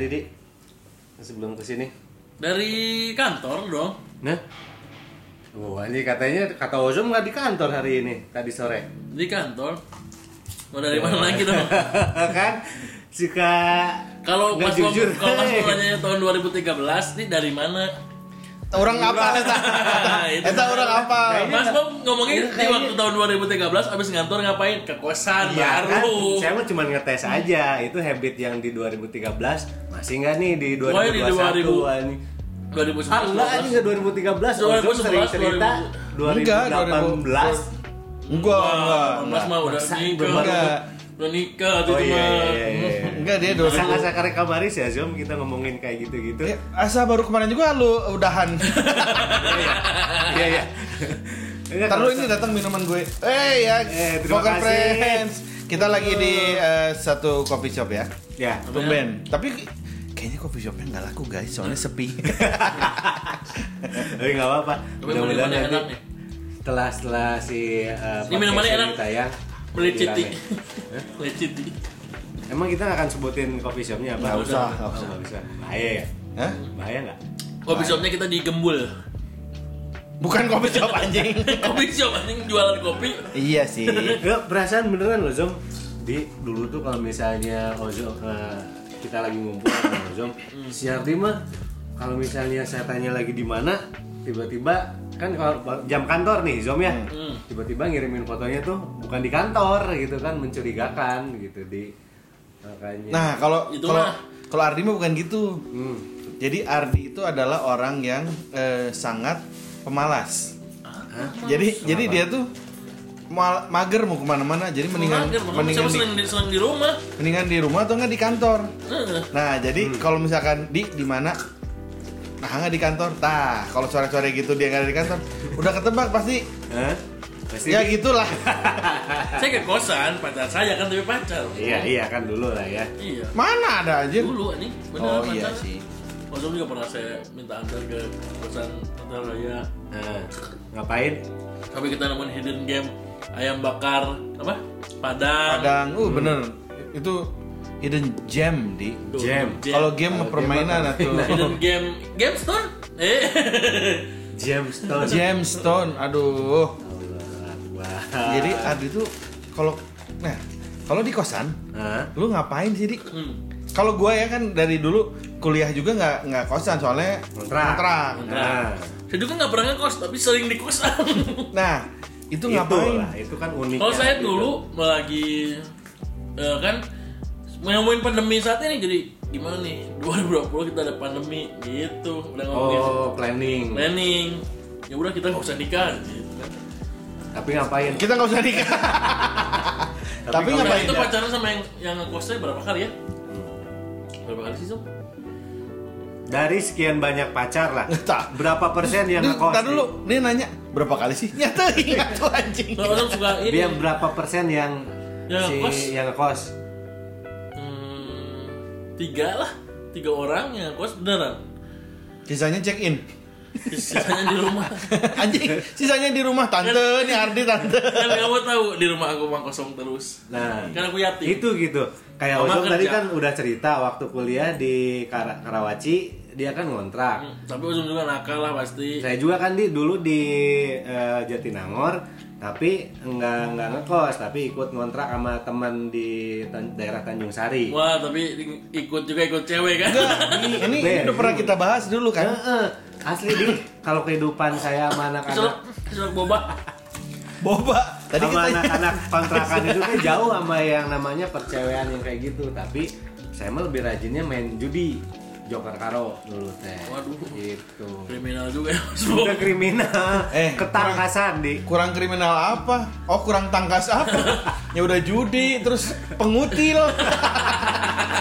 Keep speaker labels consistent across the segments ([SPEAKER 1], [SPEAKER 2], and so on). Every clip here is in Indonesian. [SPEAKER 1] Didi? Sebelum kesini.
[SPEAKER 2] Dari kantor dong.
[SPEAKER 1] Nah. Wah, Oh, ini katanya kata Ozom nggak di kantor hari ini, tadi sore.
[SPEAKER 2] Di kantor. Mau
[SPEAKER 1] Ya.
[SPEAKER 2] dari mana gitu? lagi dong?
[SPEAKER 1] kan? Jika
[SPEAKER 2] Kalau
[SPEAKER 1] nggak
[SPEAKER 2] pas gua-
[SPEAKER 1] jujur.
[SPEAKER 2] kalau pas gua nanya tahun 2013 nih dari mana?
[SPEAKER 3] Orang apa eta?
[SPEAKER 2] Itu. kan. Nah,
[SPEAKER 3] Eta orang apa?
[SPEAKER 2] Mas Bob ngomongin
[SPEAKER 1] Kayaknya-
[SPEAKER 2] di waktu tahun 2013 abis ngantor ngapain? Ke kosan
[SPEAKER 1] Iya kan?
[SPEAKER 2] baru.
[SPEAKER 1] Saya mah cuma ngetes aja. Itu habit yang di 2013 masih nggak nih di
[SPEAKER 2] Wah, ini di
[SPEAKER 1] 2021
[SPEAKER 2] 2000.
[SPEAKER 1] anjing.
[SPEAKER 2] 2011.
[SPEAKER 1] Ah, enggak anjing nggak 2013. Ozom
[SPEAKER 2] 2011,
[SPEAKER 1] sering cerita
[SPEAKER 3] 2000. Enggak,
[SPEAKER 1] 2018.
[SPEAKER 3] Enggak, enggak.
[SPEAKER 2] Mas mah udah
[SPEAKER 1] Masa
[SPEAKER 3] enggak.
[SPEAKER 2] nikah. Udah nikah tuh
[SPEAKER 1] Oh iya
[SPEAKER 2] itu mah.
[SPEAKER 1] iya iya.
[SPEAKER 3] Enggak dia dua ribu-
[SPEAKER 1] Sangka-sangka rekabaris ya Zom kita ngomongin kayak gitu-gitu.
[SPEAKER 3] Ya, Asa baru kemarin juga lu udahan.
[SPEAKER 1] Iya iya. Enggak,
[SPEAKER 3] Ntar lu
[SPEAKER 1] kalau-
[SPEAKER 3] ini datang minuman gue. Eh ya,
[SPEAKER 1] Iya, Eh, terima
[SPEAKER 3] Poker
[SPEAKER 1] kasih.
[SPEAKER 3] Friends. Kita lagi di eh, satu coffee shop ya.
[SPEAKER 1] Ya.
[SPEAKER 3] Tumben. Tapi kayaknya coffee shopnya nggak laku guys, soalnya sepi.
[SPEAKER 1] Tapi enggak apa-apa.
[SPEAKER 2] Tapi
[SPEAKER 1] Mudah-mudahan
[SPEAKER 2] minumannya
[SPEAKER 1] nanti
[SPEAKER 2] enak nih.
[SPEAKER 1] setelah setelah si eh, podcast
[SPEAKER 2] minumannya
[SPEAKER 1] ini
[SPEAKER 2] enak.
[SPEAKER 1] tayang
[SPEAKER 2] Beli
[SPEAKER 1] lebih
[SPEAKER 2] citi.
[SPEAKER 1] rame.
[SPEAKER 2] Beli citi.
[SPEAKER 1] Emang kita nggak akan sebutin coffee shopnya apa?
[SPEAKER 2] Nggak usah,
[SPEAKER 1] Oh,
[SPEAKER 3] nggak usah.
[SPEAKER 1] nggak bisa. Bahaya ya?
[SPEAKER 3] Hah?
[SPEAKER 1] Bahaya nggak?
[SPEAKER 2] Kopi shopnya kita di Gembul.
[SPEAKER 3] Bukan coffee shop anjing.
[SPEAKER 2] Kopi shop anjing jualan kopi.
[SPEAKER 3] iya sih.
[SPEAKER 1] Ya, perasaan beneran loh Zom. Di dulu tuh kalau misalnya Ozom eh, kita lagi ngumpul sama Ozom, si Ardi mah kalau misalnya saya tanya lagi di mana, tiba-tiba kan kalau jam kantor nih Zom ya, tiba-tiba ngirimin fotonya tuh bukan di kantor gitu kan mencurigakan gitu di makanya.
[SPEAKER 3] Nah, kalau
[SPEAKER 2] Iya. Itu
[SPEAKER 3] kalau
[SPEAKER 2] mah.
[SPEAKER 3] kalau Ardi mah bukan gitu.
[SPEAKER 1] Hmm.
[SPEAKER 3] Jadi Ardi itu adalah orang yang eh, sangat pemalas.
[SPEAKER 2] Ah.
[SPEAKER 3] Jadi jadi dia tuh mal- mager mau kemana-mana. Jadi mendingan
[SPEAKER 2] Mager, makanya
[SPEAKER 3] mendingan
[SPEAKER 2] saya
[SPEAKER 3] di,
[SPEAKER 2] sering di, sering di rumah.
[SPEAKER 3] mendingan di rumah atau nggak di kantor.
[SPEAKER 2] Heeh.
[SPEAKER 3] Nah jadi
[SPEAKER 2] Hmm.
[SPEAKER 3] kalau misalkan di di mana nah nggak di kantor. Tah kalau sore-sore gitu dia nggak ada di kantor. Udah ketebak pasti.
[SPEAKER 1] Hah? Pasti
[SPEAKER 3] Ya gitulah.
[SPEAKER 2] saya ke kosan, pacar saya kan tapi pacar.
[SPEAKER 1] Iya iya kan dulu lah ya.
[SPEAKER 2] Iya.
[SPEAKER 3] Mana ada aja.
[SPEAKER 2] Dulu anjing, bener
[SPEAKER 3] Oh
[SPEAKER 2] pacar.
[SPEAKER 3] iya sih.
[SPEAKER 2] Maksudnya juga pernah saya minta antar ke kosan hotel raya.
[SPEAKER 1] Nah, ngapain?
[SPEAKER 2] Tapi kita nemuin hidden game ayam bakar apa? Padang.
[SPEAKER 3] Padang. Uh bener. Itu hidden gem di.
[SPEAKER 2] Tuh,
[SPEAKER 1] Jam.
[SPEAKER 3] Kalau game
[SPEAKER 1] Kalau
[SPEAKER 3] mah
[SPEAKER 1] game
[SPEAKER 3] permainan
[SPEAKER 1] mah
[SPEAKER 3] atau
[SPEAKER 2] hidden game game store? Eh.
[SPEAKER 1] James Stone.
[SPEAKER 3] Gemstone,
[SPEAKER 1] Allah,
[SPEAKER 3] aduh.
[SPEAKER 1] wah.
[SPEAKER 3] Jadi Ardi tuh kalau nah kalau di kosan,
[SPEAKER 1] Hah?
[SPEAKER 3] lu ngapain sih di?
[SPEAKER 2] Hmm.
[SPEAKER 3] Kalau gua ya kan dari dulu kuliah juga nggak nggak kosan soalnya
[SPEAKER 1] Kontrak. Nah,
[SPEAKER 2] Saya juga nggak pernah ngekos, tapi sering di kosan.
[SPEAKER 3] Nah itu ngapain?
[SPEAKER 1] lah, itu kan unik.
[SPEAKER 2] Kalau
[SPEAKER 1] ya,
[SPEAKER 2] saya
[SPEAKER 1] gitu.
[SPEAKER 2] dulu lagi eh, kan ngomongin pandemi saat ini jadi gimana nih 2020 kita ada pandemi gitu udah ngomongin
[SPEAKER 1] Oh, planning.
[SPEAKER 2] planning ya udah kita nggak usah nikah gitu kan.
[SPEAKER 1] Tapi ngapain?
[SPEAKER 3] Kita nggak usah nikah. Tapi,
[SPEAKER 1] Tapi
[SPEAKER 2] Nah,
[SPEAKER 3] ngapain?
[SPEAKER 2] itu
[SPEAKER 3] ya?
[SPEAKER 2] pacaran sama yang yang ngekosnya berapa kali ya? Berapa kali sih Sob?
[SPEAKER 1] Dari sekian banyak pacar lah.
[SPEAKER 3] Entah.
[SPEAKER 1] Berapa persen yang
[SPEAKER 3] Duh,
[SPEAKER 1] ngekos?
[SPEAKER 3] Ntar dulu, dia nanya berapa kali sih? Nyata ingat tuh anjing.
[SPEAKER 2] Kalau orang suka ini
[SPEAKER 1] Dia berapa persen yang
[SPEAKER 2] Yang
[SPEAKER 1] si
[SPEAKER 2] ngekos?
[SPEAKER 1] yang ngekos?
[SPEAKER 2] hmm, tiga lah tiga orang yang ngekos beneran
[SPEAKER 3] Sisanya check in.
[SPEAKER 2] sisanya di rumah
[SPEAKER 3] Anjing, sisanya di rumah tante nih Ardi tante.
[SPEAKER 2] kan kamu tahu di rumah aku mah kosong terus
[SPEAKER 1] Nah,
[SPEAKER 2] Kan aku yatim.
[SPEAKER 1] Itu gitu. Kayak
[SPEAKER 2] Sama
[SPEAKER 1] Ozong tadi
[SPEAKER 2] kerja.
[SPEAKER 1] kan udah cerita waktu kuliah di Kar- Karawaci, dia kan ngontrak.
[SPEAKER 2] Hmm, tapi ujung juga nakal lah pasti
[SPEAKER 1] Saya juga kan di dulu di eh, Jatinangor, tapi nggak nggak ngekos, tapi ikut ngontrak sama teman di Tan- daerah Tanjung Sari.
[SPEAKER 2] Wah, tapi ikut juga ikut cewek kan?
[SPEAKER 3] Ini, ini
[SPEAKER 1] Ben.
[SPEAKER 3] udah pernah kita bahas dulu kan?
[SPEAKER 1] Heeh. Asli di kalau kehidupan saya sama
[SPEAKER 2] Kecelok,
[SPEAKER 1] anak-anak
[SPEAKER 2] kecelok boba.
[SPEAKER 3] Boba. Tadi
[SPEAKER 1] sama
[SPEAKER 3] kita
[SPEAKER 1] anak-anak kontrakan itu tuh jauh sama yang namanya percewean yang kayak gitu, tapi saya mah lebih rajinnya main judi joker karo dulu teh.
[SPEAKER 2] Waduh.
[SPEAKER 1] Gitu.
[SPEAKER 2] Kriminal juga ya, Mas Bob.
[SPEAKER 1] Udah kriminal,
[SPEAKER 3] Eh,
[SPEAKER 1] ketangkasan di.
[SPEAKER 3] kurang kriminal apa? Oh kurang tangkas apa? ya udah judi terus pengutil.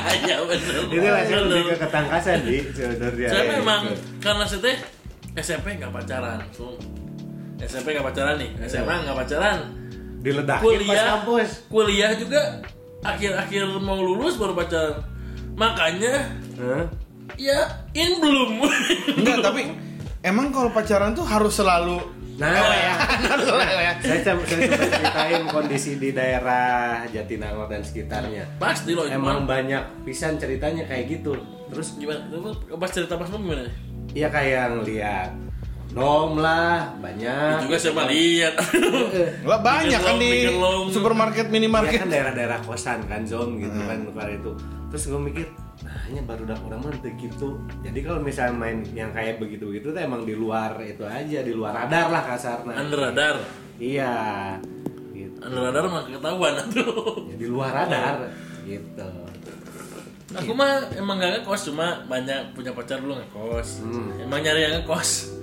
[SPEAKER 2] Iya benar.
[SPEAKER 1] Ini langsung lebih ke ketangkasan di. saudara dia.
[SPEAKER 2] Saya
[SPEAKER 1] Gitu.
[SPEAKER 2] memang karena saya teh SMP nggak pacaran. So, SMP nggak pacaran nih, SMA nggak pacaran.
[SPEAKER 1] diledakin Iya. pas
[SPEAKER 2] Kuliah,
[SPEAKER 1] kampus.
[SPEAKER 2] kuliah juga akhir-akhir mau lulus baru pacaran. Makanya
[SPEAKER 1] Hah?
[SPEAKER 2] ya in belum.
[SPEAKER 3] Enggak tapi emang kalau pacaran tuh harus selalu
[SPEAKER 1] Nah,
[SPEAKER 3] harus selalu ya.
[SPEAKER 1] saya coba saya coba ceritain kondisi di daerah Jatinangor dan sekitarnya.
[SPEAKER 2] Pasti loh itu
[SPEAKER 1] Emang banyak pisan ceritanya kayak gitu. terus
[SPEAKER 2] Gimana? Lu Pas cerita Mas Nom gimana?
[SPEAKER 1] ya kayak ngeliat nom lah banyak Iya
[SPEAKER 2] Juga siapa lihat.
[SPEAKER 3] Lah banyak kan di
[SPEAKER 2] Bikin Iya long, bikin long.
[SPEAKER 3] supermarket
[SPEAKER 1] ya
[SPEAKER 3] minimarket.
[SPEAKER 1] kan daerah-daerah kosan kan zone gitu
[SPEAKER 2] Hmm.
[SPEAKER 1] kan kemarin itu terus gue mikir nah hanya baru udah orang mah teu gitu jadi kalau misalnya main yang kayak begitu begitu tuh emang di luar itu aja di luar radar lah kasarnya
[SPEAKER 2] Under radar.
[SPEAKER 1] iya gitu
[SPEAKER 2] Under radar mah ketahuan tuh.
[SPEAKER 1] Ya, di luar radar gitu
[SPEAKER 2] Aku mah emang gak ngekos cuma banyak punya pacar dulu ngekos. Emang nyari yang ngekos.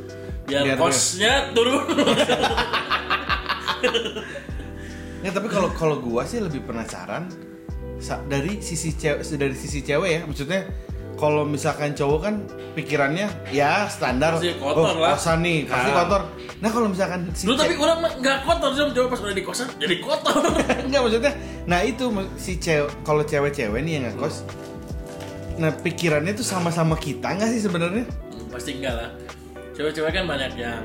[SPEAKER 2] Biar,
[SPEAKER 3] Biar-
[SPEAKER 2] kosnya turun. kan?
[SPEAKER 3] Ya tapi kalau kalau gua sih lebih penasaran sa- dari sisi cewek dari sisi cewek ya maksudnya kalau misalkan cowok kan pikirannya ya standar Oh,
[SPEAKER 2] Pasti kotor lah.
[SPEAKER 3] kosan nih pasti
[SPEAKER 1] Ah.
[SPEAKER 3] kotor nah kalau misalkan si
[SPEAKER 2] Dulu tapi
[SPEAKER 3] ce-
[SPEAKER 2] orang mah gak kotor cuma coba pas udah di kosan jadi kotor.
[SPEAKER 3] enggak maksudnya nah itu ma- si cewek kalau cewek-cewek nih yang ngekos nah pikirannya tuh sama-sama kita nggak sih sebenarnya
[SPEAKER 2] Hmm, Pasti enggak lah. Cewek-cewek kan banyak yang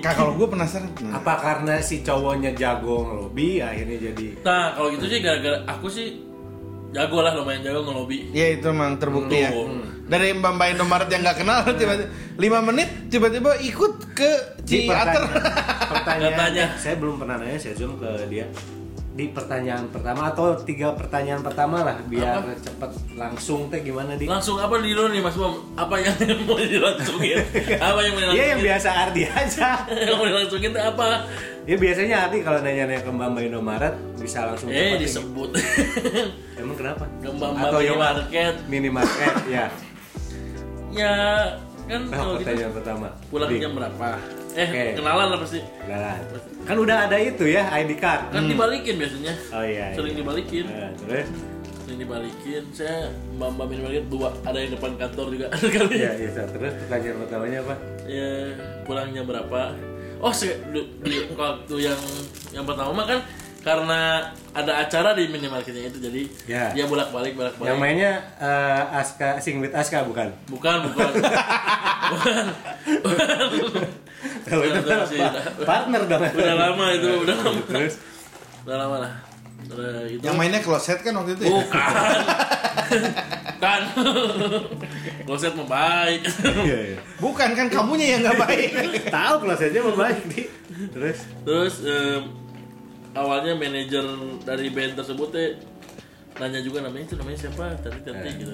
[SPEAKER 2] baik.
[SPEAKER 3] kak kalau gua penasaran
[SPEAKER 2] Hmm.
[SPEAKER 3] nah,
[SPEAKER 1] apa karena si cowoknya jago ngelobi akhirnya jadi
[SPEAKER 2] Nah kalau gitu sih gara-gara aku sih jago lah lumayan jago ngelobi.
[SPEAKER 3] ya itu memang terbukti ya
[SPEAKER 2] Tuh.
[SPEAKER 3] dari mbak mbak Indomaret yang nggak kenal tiba-tiba lima menit tiba-tiba ikut ke
[SPEAKER 1] Di
[SPEAKER 3] Ciater
[SPEAKER 1] pertanyaan, pertanyaan-
[SPEAKER 2] Katanya.
[SPEAKER 1] saya belum pernah nanya saya zoom ke dia di pertanyaan pertama atau tiga pertanyaan pertama lah biar cepet langsung teh gimana di
[SPEAKER 2] Langsung apa di dulu nih Mas Bom? Apa yang mau dilangsungin? Apa yang mau dilangsungin?
[SPEAKER 1] Iya yang biasa Ardi aja.
[SPEAKER 2] yang mau dilangsungin tuh apa?
[SPEAKER 1] Ya biasanya Ardi kalau nanya-nanya ke Mbak Mbak Indomaret bisa langsung
[SPEAKER 2] Eh
[SPEAKER 1] cepat ini.
[SPEAKER 2] disebut.
[SPEAKER 1] Emang kenapa?
[SPEAKER 2] Ke Mbak Mbak
[SPEAKER 1] Atau yang
[SPEAKER 2] minimarket.
[SPEAKER 1] minimarket ya.
[SPEAKER 2] ya kan
[SPEAKER 1] Nah,
[SPEAKER 2] kalau gitu
[SPEAKER 1] pertanyaan pertama.
[SPEAKER 2] pulang
[SPEAKER 1] Di,
[SPEAKER 2] jam berapa? Eh
[SPEAKER 1] Oke.
[SPEAKER 2] kenalan lah pasti.
[SPEAKER 1] kenalan. Kan udah ada itu ya ID card.
[SPEAKER 2] Kan dibalikin biasanya.
[SPEAKER 1] Oh iya.
[SPEAKER 2] Sering
[SPEAKER 1] iya.
[SPEAKER 2] dibalikin.
[SPEAKER 1] Nah, terus
[SPEAKER 2] Sering dibalikin. Saya Mbak Mbak minimarket dua ada yang depan kantor juga ada kali.
[SPEAKER 1] ya itu terus pertanyaan pertamanya apa?
[SPEAKER 2] ya pulangnya berapa oh se- du- di waktu yang yang pertama mah kan karena ada acara di minimarketnya itu jadi
[SPEAKER 1] Ya.
[SPEAKER 2] dia bolak balik bolak
[SPEAKER 1] Yang
[SPEAKER 2] balik
[SPEAKER 1] mainnya eh, Aska Sing with Aska bukan?
[SPEAKER 2] bukan bukan bukan
[SPEAKER 1] Kalau itu
[SPEAKER 2] Udah, udah,
[SPEAKER 1] apa?
[SPEAKER 2] udah.
[SPEAKER 1] partner dong.
[SPEAKER 2] udah lama itu udah lama
[SPEAKER 1] Terus
[SPEAKER 2] udah lama lah Udah gitu. itu
[SPEAKER 3] Yang mainnya kloset kan waktu itu ya?
[SPEAKER 2] bukan kan kloset mau baik
[SPEAKER 1] iya iya.
[SPEAKER 3] Bukan kan kamunya yang nggak baik.
[SPEAKER 1] Tahu kalau saja membaik di. Terus
[SPEAKER 2] terus em, awalnya manajer dari band tersebut teh nanya juga namanya itu namanya siapa tadi tadi
[SPEAKER 1] Eh.
[SPEAKER 2] gitu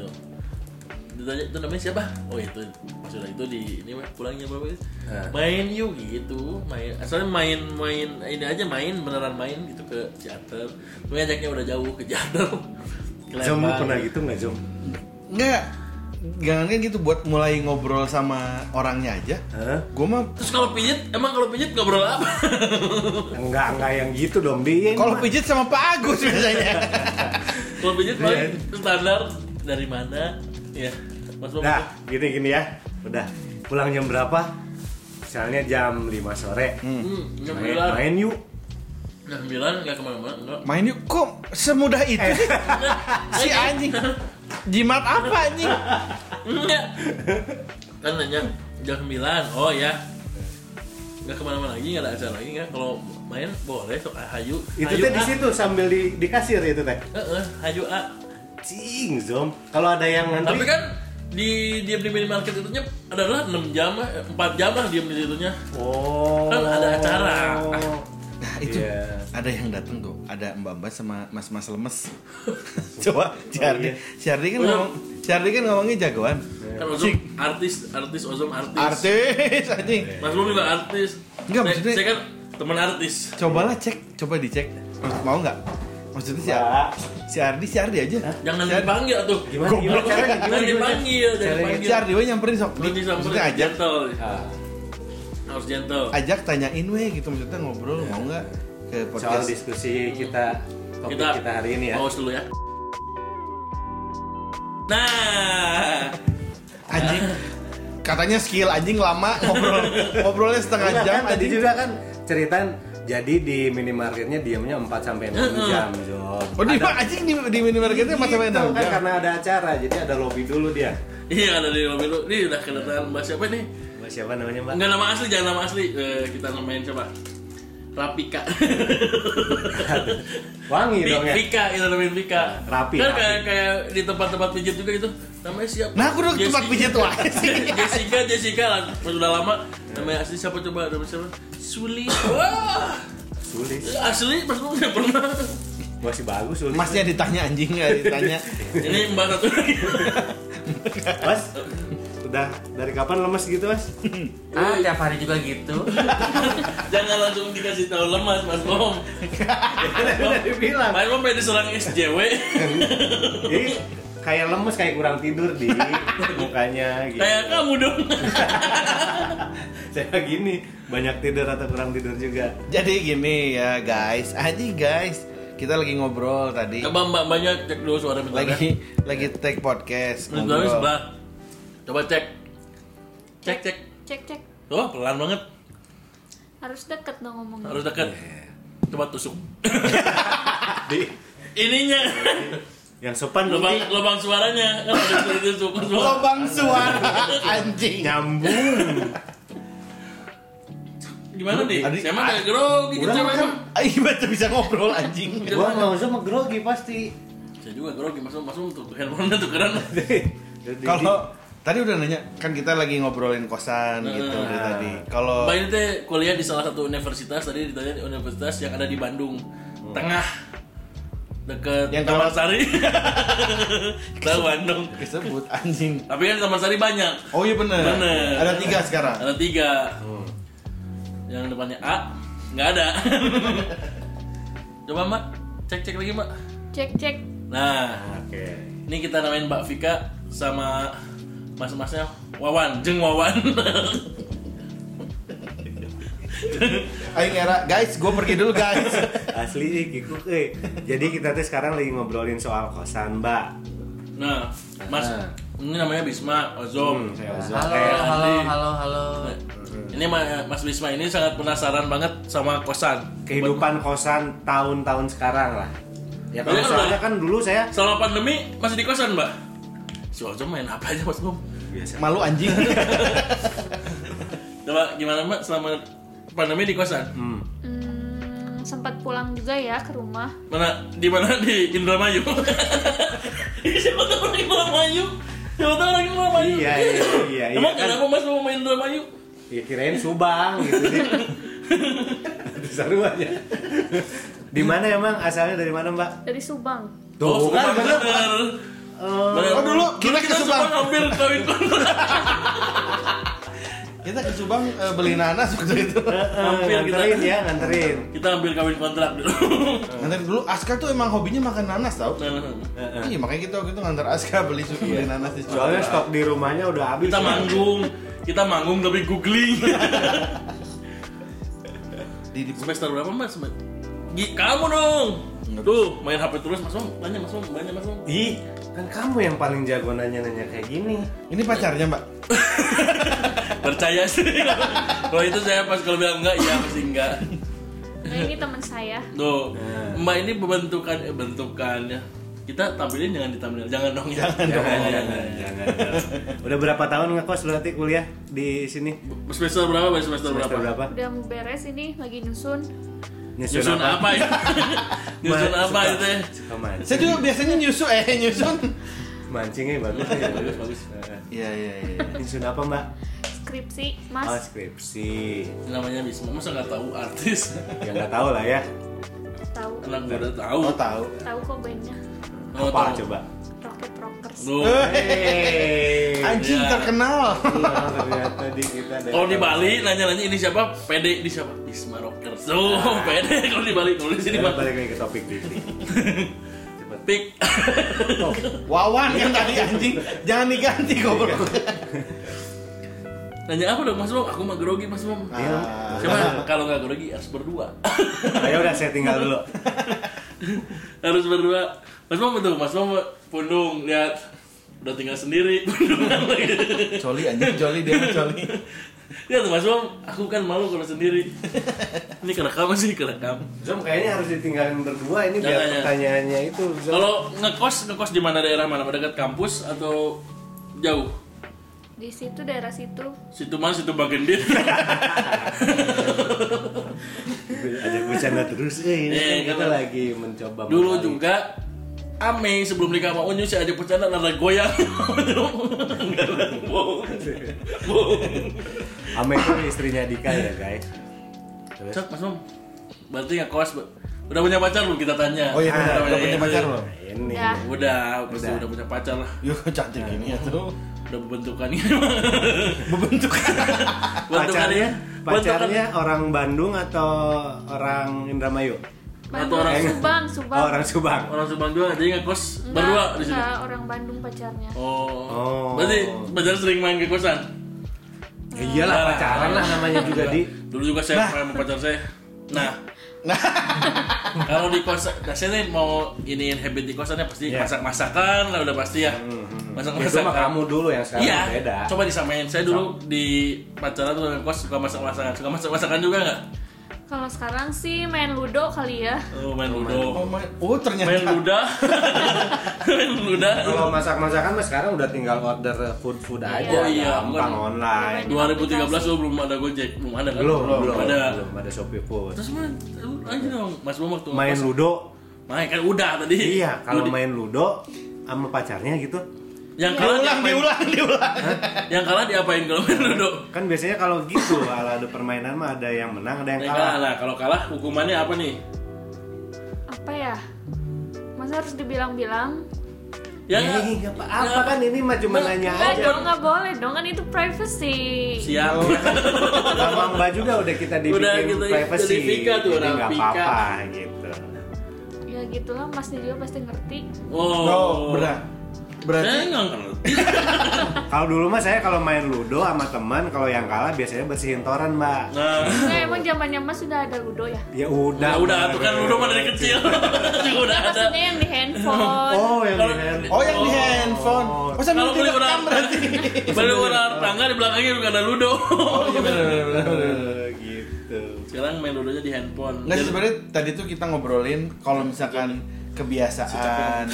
[SPEAKER 2] ditanya itu namanya siapa oh itu maksudnya itu di ini mah pulangnya berapa itu?
[SPEAKER 1] Eh.
[SPEAKER 2] main yuk gitu main asalnya main main ini aja main beneran main gitu ke teater tapi ajaknya udah jauh ke teater Ke
[SPEAKER 1] Jom lu
[SPEAKER 2] Lembang.
[SPEAKER 1] pernah gitu nggak Jom?
[SPEAKER 3] Enggak. Jangan kan gitu buat mulai ngobrol sama orangnya aja.
[SPEAKER 1] Hah?
[SPEAKER 3] Gue mah
[SPEAKER 2] terus kalau pijit emang kalau pijit ngobrol apa
[SPEAKER 1] Enggak enggak yang gitu dong di.
[SPEAKER 3] kalau pijit sama Pak Agus biasanya.
[SPEAKER 2] kalau pijit
[SPEAKER 1] Iya.
[SPEAKER 2] paling standar dari mana ya mas Bom,
[SPEAKER 1] Nah, gini-gini ya. Udah. Pulang jam berapa? Misalnya jam 5 sore.
[SPEAKER 2] hmm,
[SPEAKER 1] Main,
[SPEAKER 2] nyembilan.
[SPEAKER 1] main yuk.
[SPEAKER 2] Nah, sembilan nggak kemana-mana, enggak.
[SPEAKER 3] Main yuk kok semudah itu sih? si anjing. Jimat apa anjing?
[SPEAKER 2] Enggak. Kan nanya jam sembilan, oh ya. Nggak kemana-mana lagi, nggak ada acara lagi nggak. Kalau main boleh, sok ah, hayu.
[SPEAKER 1] Itu
[SPEAKER 2] hayu,
[SPEAKER 1] teh di
[SPEAKER 2] ah.
[SPEAKER 1] situ sambil di, di kasir itu teh.
[SPEAKER 2] Eh, eh, hayu ah.
[SPEAKER 1] Cing, Zom. Kalau ada yang ngantri
[SPEAKER 2] Tapi kan di diam di minimarket itu nya adalah 6 jam, eh, 4 jam lah diam di situnya.
[SPEAKER 1] Oh.
[SPEAKER 2] Kan ada acara.
[SPEAKER 3] Nah, itu
[SPEAKER 1] Iya.
[SPEAKER 3] ada yang datang tuh, ada mbak-mbak sama mas-mas lemes. Coba si Ardi,
[SPEAKER 1] iya.
[SPEAKER 3] si Ardi kan
[SPEAKER 2] Udah.
[SPEAKER 3] ngomong, si Ardi kan ngomongnya jagoan.
[SPEAKER 2] Kan Ozom artis, artis Ozom artis.
[SPEAKER 3] Artis anjing.
[SPEAKER 2] Mas Bom juga artis.
[SPEAKER 3] Enggak,
[SPEAKER 2] Saya-
[SPEAKER 3] maksudnya-
[SPEAKER 2] saya kan teman artis.
[SPEAKER 3] Cobalah cek, coba dicek. Mau nggak? Maksudnya si,
[SPEAKER 1] Mbak.
[SPEAKER 3] si Ardi, si Ardi aja.
[SPEAKER 2] Jangan
[SPEAKER 3] Si Ardi-
[SPEAKER 2] dipanggil tuh.
[SPEAKER 1] Gimana gimana caranya? Gimana
[SPEAKER 2] Jangan
[SPEAKER 1] gimana?
[SPEAKER 2] dipanggil, jangan
[SPEAKER 1] Caranya-
[SPEAKER 2] dipanggil.
[SPEAKER 3] Si Ardi we nyamperin sok.
[SPEAKER 2] Lu disamperin
[SPEAKER 3] Maksudnya ajak,
[SPEAKER 2] gentle. ya.
[SPEAKER 1] Ah,
[SPEAKER 2] Harus gentle.
[SPEAKER 3] ajak tanyain weh gitu maksudnya ngobrol mau nggak ke
[SPEAKER 1] soal
[SPEAKER 3] podcast.
[SPEAKER 1] diskusi kita topik kita, hari ini ya.
[SPEAKER 2] Pause dulu ya. Nah,
[SPEAKER 3] Anjing. Katanya skill anjing lama ngobrol ngobrolnya setengah
[SPEAKER 1] Enggak,
[SPEAKER 3] jam
[SPEAKER 1] kan, tadi
[SPEAKER 3] anjing.
[SPEAKER 1] juga kan ceritaan jadi di minimarketnya diamnya 4 sampai 6 jam, Zom.
[SPEAKER 3] Oh di
[SPEAKER 1] Ada-
[SPEAKER 3] anjing di, di minimarketnya mata main
[SPEAKER 1] Gitu,
[SPEAKER 3] enam
[SPEAKER 1] kan
[SPEAKER 3] jam.
[SPEAKER 1] karena ada acara, jadi ada lobby dulu dia.
[SPEAKER 2] iya ada di lobby lu. Ini udah kedatangan Mbak siapa nih?
[SPEAKER 1] Mbak siapa namanya Mbak?
[SPEAKER 2] Enggak nama asli, jangan nama asli. Eh, kita namain coba. Rapika.
[SPEAKER 1] Wangi dong ya.
[SPEAKER 2] Vika, itu namanya Vika.
[SPEAKER 1] Rapi,
[SPEAKER 2] Kan
[SPEAKER 1] rapi.
[SPEAKER 2] kayak kayak di tempat-tempat pijat juga gitu. Namanya siapa?
[SPEAKER 3] Nah, aku udah ke tempat pijat tuh aja sih.
[SPEAKER 2] Jessica, Jessica lah. Sudah lama. Namanya asli siapa coba? Namanya siapa? Suli. Wah,
[SPEAKER 1] Sulit.
[SPEAKER 2] asli pas gue nggak pernah.
[SPEAKER 1] Masih bagus sulit.
[SPEAKER 3] Masnya ditanya anjing nggak ditanya.
[SPEAKER 2] Ini mbak satu lagi.
[SPEAKER 1] Mas. Udah dari kapan lemes gitu, Mas?
[SPEAKER 4] Ah, tiap hari juga gitu.
[SPEAKER 2] Jangan langsung dikasih tahu lemas, Mas Bom.
[SPEAKER 1] Udah dibilang.
[SPEAKER 2] Mas Bom pengen diserang SJW.
[SPEAKER 1] Jadi kayak lemes kayak kurang tidur di mukanya gitu.
[SPEAKER 2] Kayak kamu dong.
[SPEAKER 1] Saya gini, banyak tidur atau kurang tidur juga.
[SPEAKER 3] Jadi gini ya guys, aja guys, kita lagi ngobrol tadi,
[SPEAKER 2] Coba mbak banyak cek dulu suara bentar. ya.
[SPEAKER 3] lagi lagi take podcast.
[SPEAKER 2] Terus
[SPEAKER 3] ngobrol.
[SPEAKER 2] baru sebelah. Coba cek. Cek cek.
[SPEAKER 5] cek cek
[SPEAKER 2] Oh, pelan banget.
[SPEAKER 5] harus deket dong ngomongnya
[SPEAKER 2] Harus dekat.
[SPEAKER 4] Iya.
[SPEAKER 2] Coba tusuk.
[SPEAKER 1] Di
[SPEAKER 2] Ininya
[SPEAKER 1] yang sopan
[SPEAKER 2] lubang
[SPEAKER 1] nanti
[SPEAKER 2] lubang suaranya kan harus ditusuk.
[SPEAKER 3] Iya. Lubang suara anjing.
[SPEAKER 2] Ya.
[SPEAKER 1] nyambung.
[SPEAKER 2] Gimana nih?
[SPEAKER 3] Adik-
[SPEAKER 2] Saya mah kayak grogi gitu
[SPEAKER 1] Kurang
[SPEAKER 2] Mas.
[SPEAKER 1] kan?
[SPEAKER 3] Ayo baca bisa ngobrol anjing.
[SPEAKER 1] Gua nggak usah mah grogi pasti.
[SPEAKER 2] Saya juga grogi masuk masuk tuh handphonenya tuh keren.
[SPEAKER 1] Jadi-
[SPEAKER 3] Kalau tadi udah nanya kan kita lagi ngobrolin kosan gitu
[SPEAKER 2] Nah.
[SPEAKER 3] dari tadi. Kalau
[SPEAKER 2] Mbak ini teh kuliah di salah satu universitas tadi ditanya di universitas yang ada di Bandung tengah deket
[SPEAKER 3] Hmm. Yang
[SPEAKER 2] Taman
[SPEAKER 3] taman-
[SPEAKER 2] Sari tahu Bandung
[SPEAKER 3] disebut anjing.
[SPEAKER 2] tapi kan Taman Sari banyak
[SPEAKER 3] Oh iya bener.
[SPEAKER 2] Bener.
[SPEAKER 3] Ada tiga sekarang.
[SPEAKER 2] ada tiga
[SPEAKER 1] Oh,
[SPEAKER 2] yang depannya A nggak ada coba mbak cek cek lagi mbak
[SPEAKER 5] cek cek
[SPEAKER 2] nah
[SPEAKER 1] Oke.
[SPEAKER 2] ini kita namain Mbak Vika sama mas-masnya Wawan jeng Wawan
[SPEAKER 3] Ayo ngera, guys, gue pergi dulu guys.
[SPEAKER 1] Asli ih, kikuk eh. Jadi kita tuh sekarang lagi ngobrolin soal kosan, Mbak.
[SPEAKER 2] nah mas
[SPEAKER 1] Ah.
[SPEAKER 2] ini namanya Bisma Ozom
[SPEAKER 1] Saya Ozo.
[SPEAKER 4] Halo,
[SPEAKER 1] Eh,
[SPEAKER 4] halo, halo, halo.
[SPEAKER 2] Ini Ma- Mas Bisma ini sangat penasaran banget sama kosan.
[SPEAKER 1] kehidupan kosan tahun-tahun sekarang lah. Ya kalau
[SPEAKER 2] Iya,
[SPEAKER 1] soalnya
[SPEAKER 2] Mbak.
[SPEAKER 1] kan dulu saya
[SPEAKER 2] Selama pandemi masih di kosan, Mbak? Si Ojo main apa aja, Mas Bom?
[SPEAKER 1] biasa.
[SPEAKER 3] Malu anjing.
[SPEAKER 2] Coba gimana, Mbak? Selama pandemi di kosan?
[SPEAKER 1] Hmm.
[SPEAKER 5] hmm, sempat pulang juga ya ke rumah
[SPEAKER 2] Mana di mana di Indramayu? Siapa tahu orang Indramayu? Siapa tahu orang Indramayu?
[SPEAKER 1] Iya, iya, iya, iya,
[SPEAKER 2] Emang
[SPEAKER 1] kan?
[SPEAKER 2] kenapa Mas mau main Indramayu?
[SPEAKER 1] Ya kirain Subang gitu sih. Ada Seruannya. Di mana emang asalnya dari mana, Mbak? Eh,
[SPEAKER 5] dari Subang
[SPEAKER 1] Tuh, kan,
[SPEAKER 2] Subang
[SPEAKER 1] bener.
[SPEAKER 2] Oh, bener. Bener.
[SPEAKER 3] Oh, dulu kita ke Subang.
[SPEAKER 2] hampir kawin kontrak.
[SPEAKER 3] Kita ke Subang eh, beli nanas waktu itu.
[SPEAKER 1] Eh,
[SPEAKER 2] Hampir kita-
[SPEAKER 1] nganterin ya, nganterin.
[SPEAKER 2] Kita hampir kawin kontrak dulu.
[SPEAKER 3] Nganter dulu Aska tuh emang hobinya makan nanas tau.
[SPEAKER 1] Heeh.
[SPEAKER 3] Iya makanya kita waktu itu nganter Aska beli su- beli nanas di Subang.
[SPEAKER 1] Soalnya stok di rumahnya udah habis.
[SPEAKER 2] kita manggung kita manggung tapi googling
[SPEAKER 3] Di, di
[SPEAKER 2] semester berapa mas Gi, kamu dong tuh main hp terus mas Om. tanya mas Om, tanya mas Om.
[SPEAKER 1] Ih, kan kamu yang paling jago nanya-nanya kayak gini.
[SPEAKER 3] Ini pacarnya mbak.
[SPEAKER 2] percaya sih kalau itu saya pas kalau bilang enggak ya pasti enggak
[SPEAKER 5] nah ini teman saya
[SPEAKER 2] tuh
[SPEAKER 1] Nah.
[SPEAKER 2] mbak ini bentukan eh, bentukannya kita tampilin jangan ditampilin jangan dong ya jangan,
[SPEAKER 1] Jangan, jangan, jangan. Udah berapa tahun ngekos berarti kuliah di sini?
[SPEAKER 2] semester berapa Mbak? semester,
[SPEAKER 1] Semester
[SPEAKER 2] berapa
[SPEAKER 1] berapa?
[SPEAKER 5] udah mau beres ini lagi nyusun
[SPEAKER 2] nyusun apa ya nyusun
[SPEAKER 1] Ma-
[SPEAKER 2] apa
[SPEAKER 1] suka-
[SPEAKER 2] itu ya
[SPEAKER 1] Suka mancing.
[SPEAKER 3] Saya juga biasanya nyusu eh nyusun.
[SPEAKER 1] Mancingnya bagus ya.
[SPEAKER 2] bagus bagus
[SPEAKER 1] Eh,
[SPEAKER 3] Iya iya iya.
[SPEAKER 1] Nyusun apa, Mbak?
[SPEAKER 5] skripsi
[SPEAKER 1] Oh,
[SPEAKER 5] mas
[SPEAKER 1] skripsi.
[SPEAKER 2] namanya Bisma masa nggak tahu artis
[SPEAKER 1] Ya nggak tahu lah ya.
[SPEAKER 5] tahu
[SPEAKER 2] anak muda tahu
[SPEAKER 3] Oh tahu.
[SPEAKER 5] tahu kok bandnya
[SPEAKER 2] Oh,
[SPEAKER 1] Apa
[SPEAKER 2] tahu.
[SPEAKER 1] coba?
[SPEAKER 5] Rocket Rockers
[SPEAKER 2] Tuh.
[SPEAKER 1] Hey.
[SPEAKER 3] Anjing
[SPEAKER 2] Iya.
[SPEAKER 3] terkenal.
[SPEAKER 1] Nah, ternyata di kita dari-
[SPEAKER 2] Kalau Oh, di Bali nanya-nanya ini siapa? PD di siapa? Bisma Rockers. Oh, PD kalau di Bali kalau di
[SPEAKER 1] Eh,
[SPEAKER 2] sini mah
[SPEAKER 1] balik lagi ke topik Didi. Cepet.
[SPEAKER 2] pik.
[SPEAKER 1] Oh,
[SPEAKER 3] Wawan kan tadi anjing. Jangan diganti goblok.
[SPEAKER 2] Nanya apa dong Mas Bom? Aku mah grogi Mas Bom.
[SPEAKER 1] iya.
[SPEAKER 2] Cuma kalau nggak grogi harus berdua.
[SPEAKER 1] Ayo Ah, ya udah saya tinggal dulu.
[SPEAKER 2] harus berdua. Mas Bom betul, Mas Bom pundung lihat udah tinggal sendiri pundungan lagi.
[SPEAKER 3] Coli anjing coli dia mah coli.
[SPEAKER 2] Lihat Mas Bom, aku kan malu kalau sendiri. Ini kerekam sih kerekam.
[SPEAKER 1] Zom kayaknya harus ditinggalin berdua ini biar
[SPEAKER 2] Jangan, ya.
[SPEAKER 1] pertanyaannya itu. Zom.
[SPEAKER 2] Kalau ngekos ngekos di mana daerah mana? Dekat kampus atau jauh?
[SPEAKER 5] di situ daerah situ
[SPEAKER 2] Situ mana situ Bagendit.
[SPEAKER 1] ada bercanda terus eh ini
[SPEAKER 2] Iya,
[SPEAKER 1] kan kita
[SPEAKER 2] karena-
[SPEAKER 1] lagi mencoba
[SPEAKER 2] Dulu
[SPEAKER 1] menggali.
[SPEAKER 2] juga Ame sebelum nikah sama Unyu saya ada bercanda nada goyang. Enggak lah, bohong. Bohong.
[SPEAKER 1] Ame itu istrinya Dika ya guys Terus?
[SPEAKER 2] Cok, Mas Mom. Berarti nggak kos, Bu. Udah punya pacar belum kita tanya?
[SPEAKER 3] Oh iya benar,
[SPEAKER 2] Ah,
[SPEAKER 3] udah punya pacar belum?
[SPEAKER 1] Nah, ini
[SPEAKER 5] Udah.
[SPEAKER 2] Udah, pasti udah punya pacar lah.
[SPEAKER 3] Yuk cantik ini ya tuh.
[SPEAKER 2] Udah bentukan
[SPEAKER 3] Bebentukan.
[SPEAKER 1] pacarnya
[SPEAKER 2] ya?
[SPEAKER 1] pacarnya orang Bandung atau orang Indramayu
[SPEAKER 5] Bandung,
[SPEAKER 2] orang-
[SPEAKER 5] Subang, Subang.
[SPEAKER 1] Oh, orang Subang
[SPEAKER 2] Orang Subang juga, jadi nggak kos
[SPEAKER 5] Enggak,
[SPEAKER 2] berdua di sini.
[SPEAKER 5] enggak, orang Bandung pacarnya.
[SPEAKER 2] Oh.
[SPEAKER 1] Oh.
[SPEAKER 2] Berarti pacar sering main ke kosan.
[SPEAKER 1] ya iyalah pacaran lah namanya juga di
[SPEAKER 2] Dulu juga saya main sama pacar saya. Nah. kalau di kosan, nah saya nih mau iniin habit di kosannya pasti
[SPEAKER 1] Iya.
[SPEAKER 2] masak-masakan lah udah pasti ya.
[SPEAKER 1] ya itu mah
[SPEAKER 2] Masak-masakan.
[SPEAKER 1] kamu dulu yang sekarang
[SPEAKER 2] Iya,
[SPEAKER 1] beda
[SPEAKER 2] coba disamain. Saya dulu di pacaran tuh dengan kos suka masak-masakan. Suka masak-masakan juga nggak?
[SPEAKER 5] Kalau sekarang sih main ludo kali ya.
[SPEAKER 2] Oh, main
[SPEAKER 3] Oh,
[SPEAKER 2] ludo.
[SPEAKER 3] my. oh ternyata.
[SPEAKER 2] Main luda. main luda.
[SPEAKER 1] kalau masak-masakan mah sekarang udah tinggal order food-food aja
[SPEAKER 2] Oh, iya,
[SPEAKER 1] gampang
[SPEAKER 2] bukan.
[SPEAKER 1] online
[SPEAKER 2] 2013 lo belum ada Gojek, belum ada kan?
[SPEAKER 1] belum belum
[SPEAKER 2] ada.
[SPEAKER 1] belum ada Shopee Food
[SPEAKER 2] Terus main, aja dong, Mas Bom waktu
[SPEAKER 1] main
[SPEAKER 2] pas-
[SPEAKER 1] ludo
[SPEAKER 2] Main kan udah tadi.
[SPEAKER 1] iya kalau
[SPEAKER 2] Lu di-
[SPEAKER 1] main ludo sama pacarnya gitu
[SPEAKER 2] yang kalah
[SPEAKER 3] diulang,
[SPEAKER 2] diapain?
[SPEAKER 3] diulang, diulang.
[SPEAKER 2] Yang kalah diapain kalau main ludo?
[SPEAKER 1] kan biasanya kalau gitu ala ada permainan mah ada yang menang ada yang
[SPEAKER 2] Yang
[SPEAKER 1] kalah
[SPEAKER 2] kalah lah, kalau kalah hukumannya apa nih?
[SPEAKER 5] Apa ya? Masa harus dibilang-bilang?
[SPEAKER 2] Ya nggak?
[SPEAKER 1] Ih, nggak Eh, apa-apa kan ini mah cuma
[SPEAKER 2] Nggak,
[SPEAKER 1] nanya
[SPEAKER 5] Enggak
[SPEAKER 1] aja.
[SPEAKER 5] dong, enggak boleh dong kan itu privacy.
[SPEAKER 2] Siap.
[SPEAKER 1] Oh. Sama Mbak juga udah kita dibikin
[SPEAKER 2] Udah gitu,
[SPEAKER 1] privacy.
[SPEAKER 2] jadi Vika tuh,
[SPEAKER 1] Jadi
[SPEAKER 2] orang
[SPEAKER 1] nggak
[SPEAKER 2] Vika.
[SPEAKER 1] apa-apa gitu.
[SPEAKER 5] Ya gitulah, Masnya juga pasti ngerti.
[SPEAKER 2] Oh,
[SPEAKER 3] Oh, berat. Berarti
[SPEAKER 2] Saya nggak ngerti.
[SPEAKER 1] Kalau dulu mah saya kalau main ludo sama teman kalau yang kalah biasanya bersihin toran, Mbak.
[SPEAKER 2] Nah,
[SPEAKER 3] Eh,
[SPEAKER 5] Nah, emang zamannya Mas sudah ada ludo ya?
[SPEAKER 1] Ya udah.
[SPEAKER 2] Nah, udah tuh kan udah mah dari kecil.
[SPEAKER 1] Iya.
[SPEAKER 2] Juga udah ada.
[SPEAKER 5] Kan Maksudnya yang di handphone.
[SPEAKER 1] Oh, yang
[SPEAKER 2] Kalau-
[SPEAKER 1] di
[SPEAKER 3] Oh yang di
[SPEAKER 2] Oh.
[SPEAKER 3] handphone. Oh, sambil
[SPEAKER 2] Kalau beli
[SPEAKER 3] direkam
[SPEAKER 2] orang
[SPEAKER 3] berarti.
[SPEAKER 2] Beli orang tangga di belakangnya juga ada ludo.
[SPEAKER 3] Oh iya benar benar benar, benar.
[SPEAKER 1] gitu.
[SPEAKER 2] Sekarang main ludonya di handphone.
[SPEAKER 3] Nah
[SPEAKER 2] Jadi-
[SPEAKER 3] sebenarnya tadi tuh kita ngobrolin kalau misalkan kebiasaan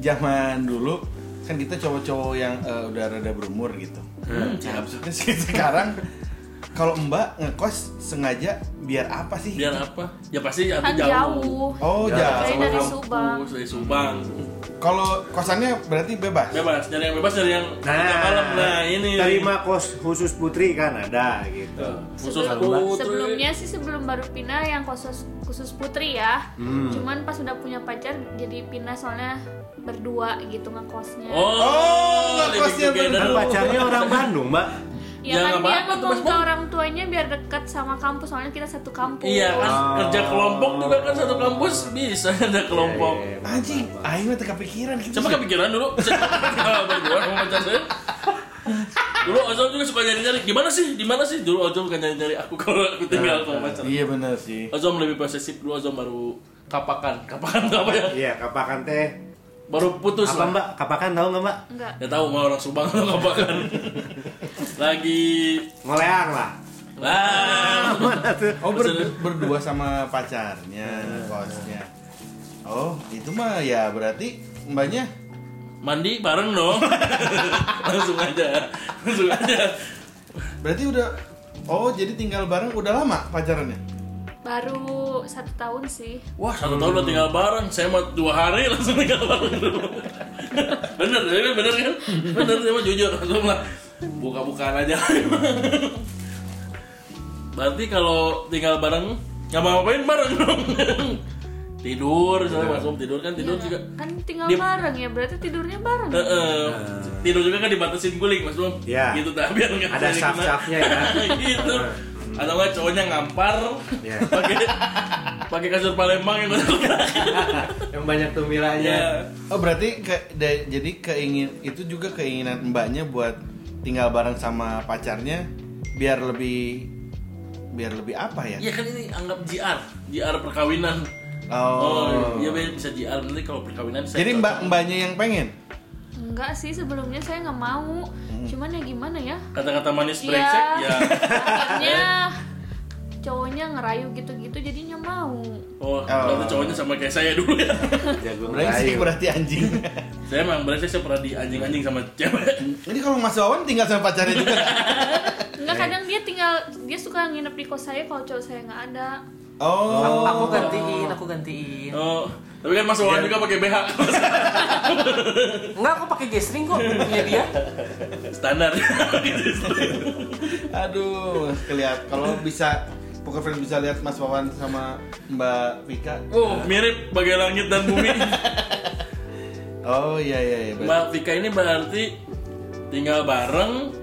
[SPEAKER 3] zaman dulu kan kita cowok-cowok yang eh, udah rada berumur gitu.
[SPEAKER 2] Hmm,
[SPEAKER 3] Nah, maksudnya sih sekarang kalau Mbak ngekos sengaja biar apa sih?
[SPEAKER 2] biar apa? Ya pasti
[SPEAKER 5] Kan
[SPEAKER 2] aku jauh.
[SPEAKER 5] jauh.
[SPEAKER 3] Oh
[SPEAKER 1] Ya,
[SPEAKER 3] ya.
[SPEAKER 5] Saya dari
[SPEAKER 2] kampus,
[SPEAKER 5] Subang.
[SPEAKER 2] dari Subang.
[SPEAKER 3] Kalau kosannya berarti bebas.
[SPEAKER 2] Bebas, dari yang bebas dari yang
[SPEAKER 1] Nah,
[SPEAKER 2] tiga malam. Nah, ini
[SPEAKER 1] terima kos khusus putri kan ada gitu.
[SPEAKER 2] khusus
[SPEAKER 5] Sebelum-
[SPEAKER 2] putri.
[SPEAKER 5] sebelumnya sih sebelum baru pindah yang khusus khusus putri ya.
[SPEAKER 1] Hmm.
[SPEAKER 5] Cuman pas udah punya pacar jadi pindah soalnya berdua gitu ngekosnya.
[SPEAKER 2] Oh,
[SPEAKER 3] Oh,
[SPEAKER 2] living
[SPEAKER 3] kosnya
[SPEAKER 2] together.
[SPEAKER 1] Dan Kan pacarnya orang Bandung, Mbak.
[SPEAKER 2] Ya,
[SPEAKER 5] Ya,
[SPEAKER 2] nggak
[SPEAKER 5] kan dia
[SPEAKER 2] apa-apa tuh,
[SPEAKER 5] ngomong
[SPEAKER 2] Mas
[SPEAKER 5] ke
[SPEAKER 2] Bung.
[SPEAKER 5] orang tuanya biar dekat sama kampus soalnya kita satu kampus.
[SPEAKER 2] Iya kan
[SPEAKER 1] Oh.
[SPEAKER 2] kerja kelompok juga kan satu kampus bisa ada kelompok.
[SPEAKER 1] Iya, iya,
[SPEAKER 3] Anjing, aing mah teka pikiran gitu.
[SPEAKER 2] Coba kepikiran dulu. Saya berdua sama pacar saya. Dulu Ojol juga suka nyari-nyari. Gimana sih? Di mana sih? Dulu Ojol bukan nyari-nyari aku kalau aku tinggal sama pacar.
[SPEAKER 3] Iya benar sih.
[SPEAKER 2] Ojol lebih posesif dulu Ozom baru kapakan. Kapakan tuh apa ya?
[SPEAKER 1] Iya, kapakan teh.
[SPEAKER 2] Baru putus
[SPEAKER 1] Apa
[SPEAKER 2] lah.
[SPEAKER 1] Mbak? Kapakan tahu nggak Mbak?
[SPEAKER 5] Enggak.
[SPEAKER 2] Ya tahu mau orang Subang atau kapakan. Lagi
[SPEAKER 1] Ngoleang lah.
[SPEAKER 2] Wah,
[SPEAKER 1] Mana tuh?
[SPEAKER 3] Oh ber- berdua sama pacarnya kosnya. Oh itu mah ya berarti mbaknya
[SPEAKER 2] mandi bareng dong. Langsung aja. Langsung aja.
[SPEAKER 3] berarti udah oh jadi tinggal bareng udah lama pacarannya.
[SPEAKER 5] Baru satu tahun sih.
[SPEAKER 2] Wah, satu tahun udah tinggal bareng. Saya mah dua hari langsung tinggal bareng dulu. bener, ini bener kan? Bener, saya mah jujur. Langsung lah. Buka-bukaan aja. Berarti kalau tinggal bareng, nggak mau ngapain bareng dong. tidur, misalnya masuk tidur kan tidur
[SPEAKER 5] Iya,
[SPEAKER 2] juga.
[SPEAKER 5] Kan tinggal
[SPEAKER 2] Dia-
[SPEAKER 5] bareng ya, berarti tidurnya bareng.
[SPEAKER 2] Eh, eh, tidur juga kan dibatasin guling mas Bung.
[SPEAKER 1] Iya.
[SPEAKER 2] Gitu dah biar nggak
[SPEAKER 1] Ada
[SPEAKER 2] jadi kena.
[SPEAKER 1] saf-safnya ya.
[SPEAKER 2] gitu. Atau nggak cowoknya ngampar
[SPEAKER 1] Iya.
[SPEAKER 2] pakai pakai kasur Palembang yang betul kan?
[SPEAKER 1] Yang banyak tumilanya.
[SPEAKER 2] Ya.
[SPEAKER 3] Oh berarti ke, da- jadi keingin itu juga keinginan mbaknya buat tinggal bareng sama pacarnya biar lebih biar lebih apa ya?
[SPEAKER 2] Iya kan ini anggap JR, JR perkawinan.
[SPEAKER 3] Oh.
[SPEAKER 2] iya Ben, bisa JR nanti kalau perkawinan saya.
[SPEAKER 3] Jadi mbak mbaknya yang pengen.
[SPEAKER 5] Enggak sih, sebelumnya saya nggak mau. Cuman ya gimana ya?
[SPEAKER 2] kata-kata manis
[SPEAKER 5] Iya.
[SPEAKER 2] brengsek ya.
[SPEAKER 5] Akhirnya cowoknya ngerayu gitu-gitu jadinya mau.
[SPEAKER 2] Oh, berarti cowoknya sama kayak saya dulu ya.
[SPEAKER 1] Jago
[SPEAKER 3] Brengsek
[SPEAKER 1] ngerayu.
[SPEAKER 3] berarti anjing.
[SPEAKER 2] saya emang brengsek saya pernah di anjing-anjing sama cewek.
[SPEAKER 3] jadi kalau Mas Wawan tinggal sama pacarnya juga.
[SPEAKER 2] Eh.
[SPEAKER 5] Enggak kadang dia tinggal dia suka nginep di kos saya kalau cowok saya nggak ada.
[SPEAKER 3] Oh.
[SPEAKER 4] Aku, aku gantiin, aku gantiin.
[SPEAKER 2] Oh, tapi kan Mas Wawan juga pakai BH.
[SPEAKER 4] Enggak, aku pakai gestring kok punya dia.
[SPEAKER 2] Standar. Gitu.
[SPEAKER 3] Aduh, kelihatan kalau bisa Poker Friend bisa lihat Mas Wawan sama Mbak Vika.
[SPEAKER 2] oh, mirip bagai langit dan bumi.
[SPEAKER 3] Oh iya iya iya.
[SPEAKER 2] Mbak Vika ini berarti tinggal bareng,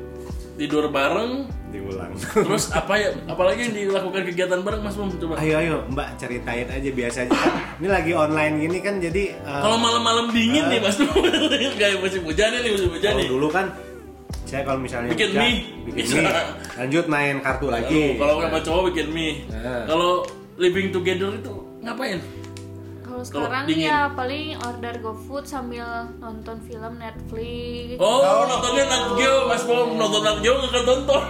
[SPEAKER 2] tidur bareng,
[SPEAKER 1] diulang
[SPEAKER 2] terus apa ya? Apalagi yang dilakukan kegiatan bareng Mas Mum coba.
[SPEAKER 1] ayo ayo mbak ceritain aja biasanya ini lagi online gini kan jadi eh,
[SPEAKER 2] Kalau malam-malam dingin nih Mas Mum, kayak musim hujan nih musim hujan
[SPEAKER 1] kalau
[SPEAKER 2] nih.
[SPEAKER 1] dulu kan saya kalau misalnya
[SPEAKER 2] Bikin
[SPEAKER 1] hujan,
[SPEAKER 2] mie.
[SPEAKER 1] bikin
[SPEAKER 2] Bisa.
[SPEAKER 1] mie. lanjut main kartu lagi
[SPEAKER 2] Aduh, Kalau sama cowok bikin mie.
[SPEAKER 1] Nah.
[SPEAKER 2] Kalau living together itu ngapain?
[SPEAKER 5] Kalau sekarang
[SPEAKER 2] dingin.
[SPEAKER 5] ya paling order GoFood sambil nonton film Netflix.
[SPEAKER 2] Oh, nontonnya Nat Geo, Mas Mum nonton Nat Geo nggak akan nonton.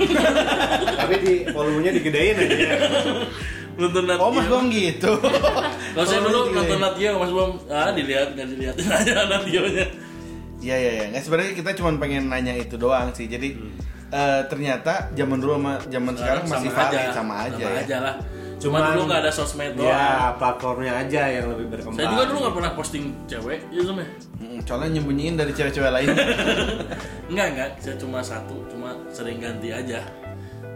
[SPEAKER 1] tapi di volumenya digedein aja
[SPEAKER 2] nonton Nat
[SPEAKER 3] Oh Mas
[SPEAKER 2] Geo.
[SPEAKER 3] Bom gitu.
[SPEAKER 2] Kalau saya
[SPEAKER 3] Oh,
[SPEAKER 2] dulu
[SPEAKER 3] gitu ya.
[SPEAKER 2] nonton Nat Geo, Mas Bom, ah dilihat nggak dilihatin aja Nat Geo-nya.
[SPEAKER 3] Iya iya iya. Nggak, sebenarnya kita cuma pengen nanya itu doang sih. Jadi eh, ternyata zaman dulu sama zaman sekarang masih valid sama aja
[SPEAKER 2] sama
[SPEAKER 3] ya. Iya.
[SPEAKER 2] aja lah. Cuma
[SPEAKER 1] Cuman-
[SPEAKER 2] dulu nggak ada sosmed doang.
[SPEAKER 1] ya platformnya aja yang lebih berkembang
[SPEAKER 2] Saya juga dulu nggak pernah posting cewek, ya Zum, ya?
[SPEAKER 3] Mm, Soalnya nyembunyiin dari cewek-cewek lain.
[SPEAKER 2] Enggak enggak, saya cuma satu, cuma sering ganti aja.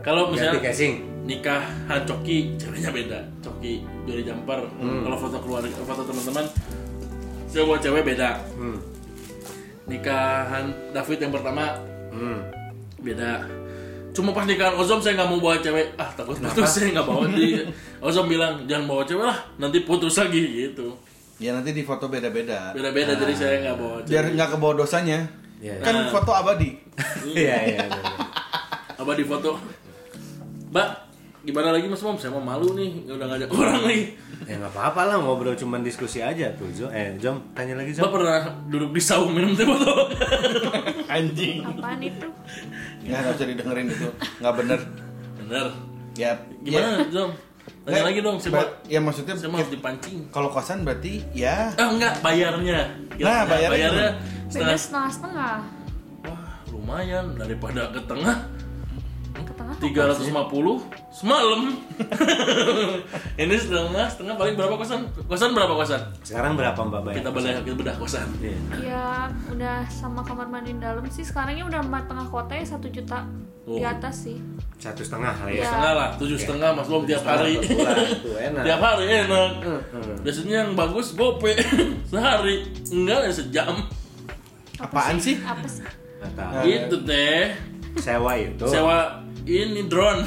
[SPEAKER 2] Kalau
[SPEAKER 1] ganti
[SPEAKER 2] misalnya
[SPEAKER 1] casing
[SPEAKER 2] nikah Han coki ceweknya beda coki jori jumper
[SPEAKER 3] Hmm.
[SPEAKER 2] kalau foto keluarga foto teman-teman saya buat cewek beda
[SPEAKER 1] hmm.
[SPEAKER 2] nikahan David yang pertama
[SPEAKER 1] Hmm.
[SPEAKER 2] beda cuma pas nikahan Ozom saya nggak mau bawa cewek ah takut putus saya nggak bawa di Ozom bilang jangan bawa cewek lah nanti putus lagi gitu
[SPEAKER 3] ya nanti di foto beda-beda.
[SPEAKER 2] beda-beda jadi saya nggak bawa
[SPEAKER 3] Ah. Biar
[SPEAKER 2] cewek
[SPEAKER 3] nggak kebawa dosanya.
[SPEAKER 1] Iya.
[SPEAKER 3] Kan foto abadi.
[SPEAKER 1] iya iya iya.
[SPEAKER 2] apa di foto mbak gimana lagi mas mom saya mau malu nih udah ngajak orang lagi
[SPEAKER 1] ya nggak apa-apa lah ngobrol cuman diskusi aja tuh Jom eh Jom tanya lagi
[SPEAKER 2] mbak
[SPEAKER 1] Jom
[SPEAKER 2] pernah duduk di saung minum teh botol
[SPEAKER 3] Anjing.
[SPEAKER 5] Apaan itu?
[SPEAKER 3] Ya nggak usah didengerin itu. Nggak bener.
[SPEAKER 2] bener
[SPEAKER 3] Ya. ya.
[SPEAKER 2] Gimana, Jom? Tanya
[SPEAKER 3] Nggak,
[SPEAKER 2] lagi dong, saya
[SPEAKER 3] ba-
[SPEAKER 2] mau,
[SPEAKER 3] Ya maksudnya
[SPEAKER 2] saya mau harus dipancing.
[SPEAKER 3] kalau kosan berarti ya
[SPEAKER 2] Ah, enggak, bayarnya.
[SPEAKER 3] Nah, bayarnya
[SPEAKER 5] Beda
[SPEAKER 2] setengah.
[SPEAKER 5] setengah-setengah
[SPEAKER 2] Wah, lumayan daripada ke tengah
[SPEAKER 5] ke tengah.
[SPEAKER 2] 350 semalam. Ini setengah, setengah paling berapa kosan? Kosan berapa kosan?
[SPEAKER 1] sekarang berapa mbak bayar
[SPEAKER 2] Kita bedah, kita bedah kosan.
[SPEAKER 1] Iya.
[SPEAKER 5] Ya udah sama kamar mandi dalam sih sekarangnya udah empat tengah kota ya satu juta di
[SPEAKER 2] Oh.
[SPEAKER 5] atas sih.
[SPEAKER 1] satu setengah lah ya
[SPEAKER 5] Iya.
[SPEAKER 2] Setengah lah, tujuh setengah mas Bom tiap hari.
[SPEAKER 1] Setengah per bulan, tuh, enak
[SPEAKER 2] tiap hari enak. Biasanya yang bagus gope sehari, enggak ya sejam.
[SPEAKER 3] apaan sih?
[SPEAKER 5] Apa sih?
[SPEAKER 1] Nggak tahu.
[SPEAKER 2] Gitu teh.
[SPEAKER 1] sewa itu
[SPEAKER 2] sewa ini drone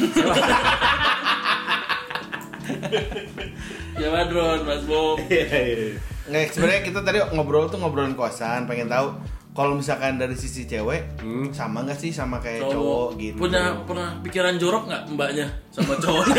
[SPEAKER 2] sewa drone mas Bob
[SPEAKER 1] Iya, iya, iya.
[SPEAKER 3] Nggak, sebenarnya kita tadi ngobrol tuh ngobrolan kosan, pengen tahu kalau misalkan dari sisi cewek sama nggak sih sama kayak cowok, gitu.
[SPEAKER 2] punya pernah pikiran jorok nggak mbaknya sama cowok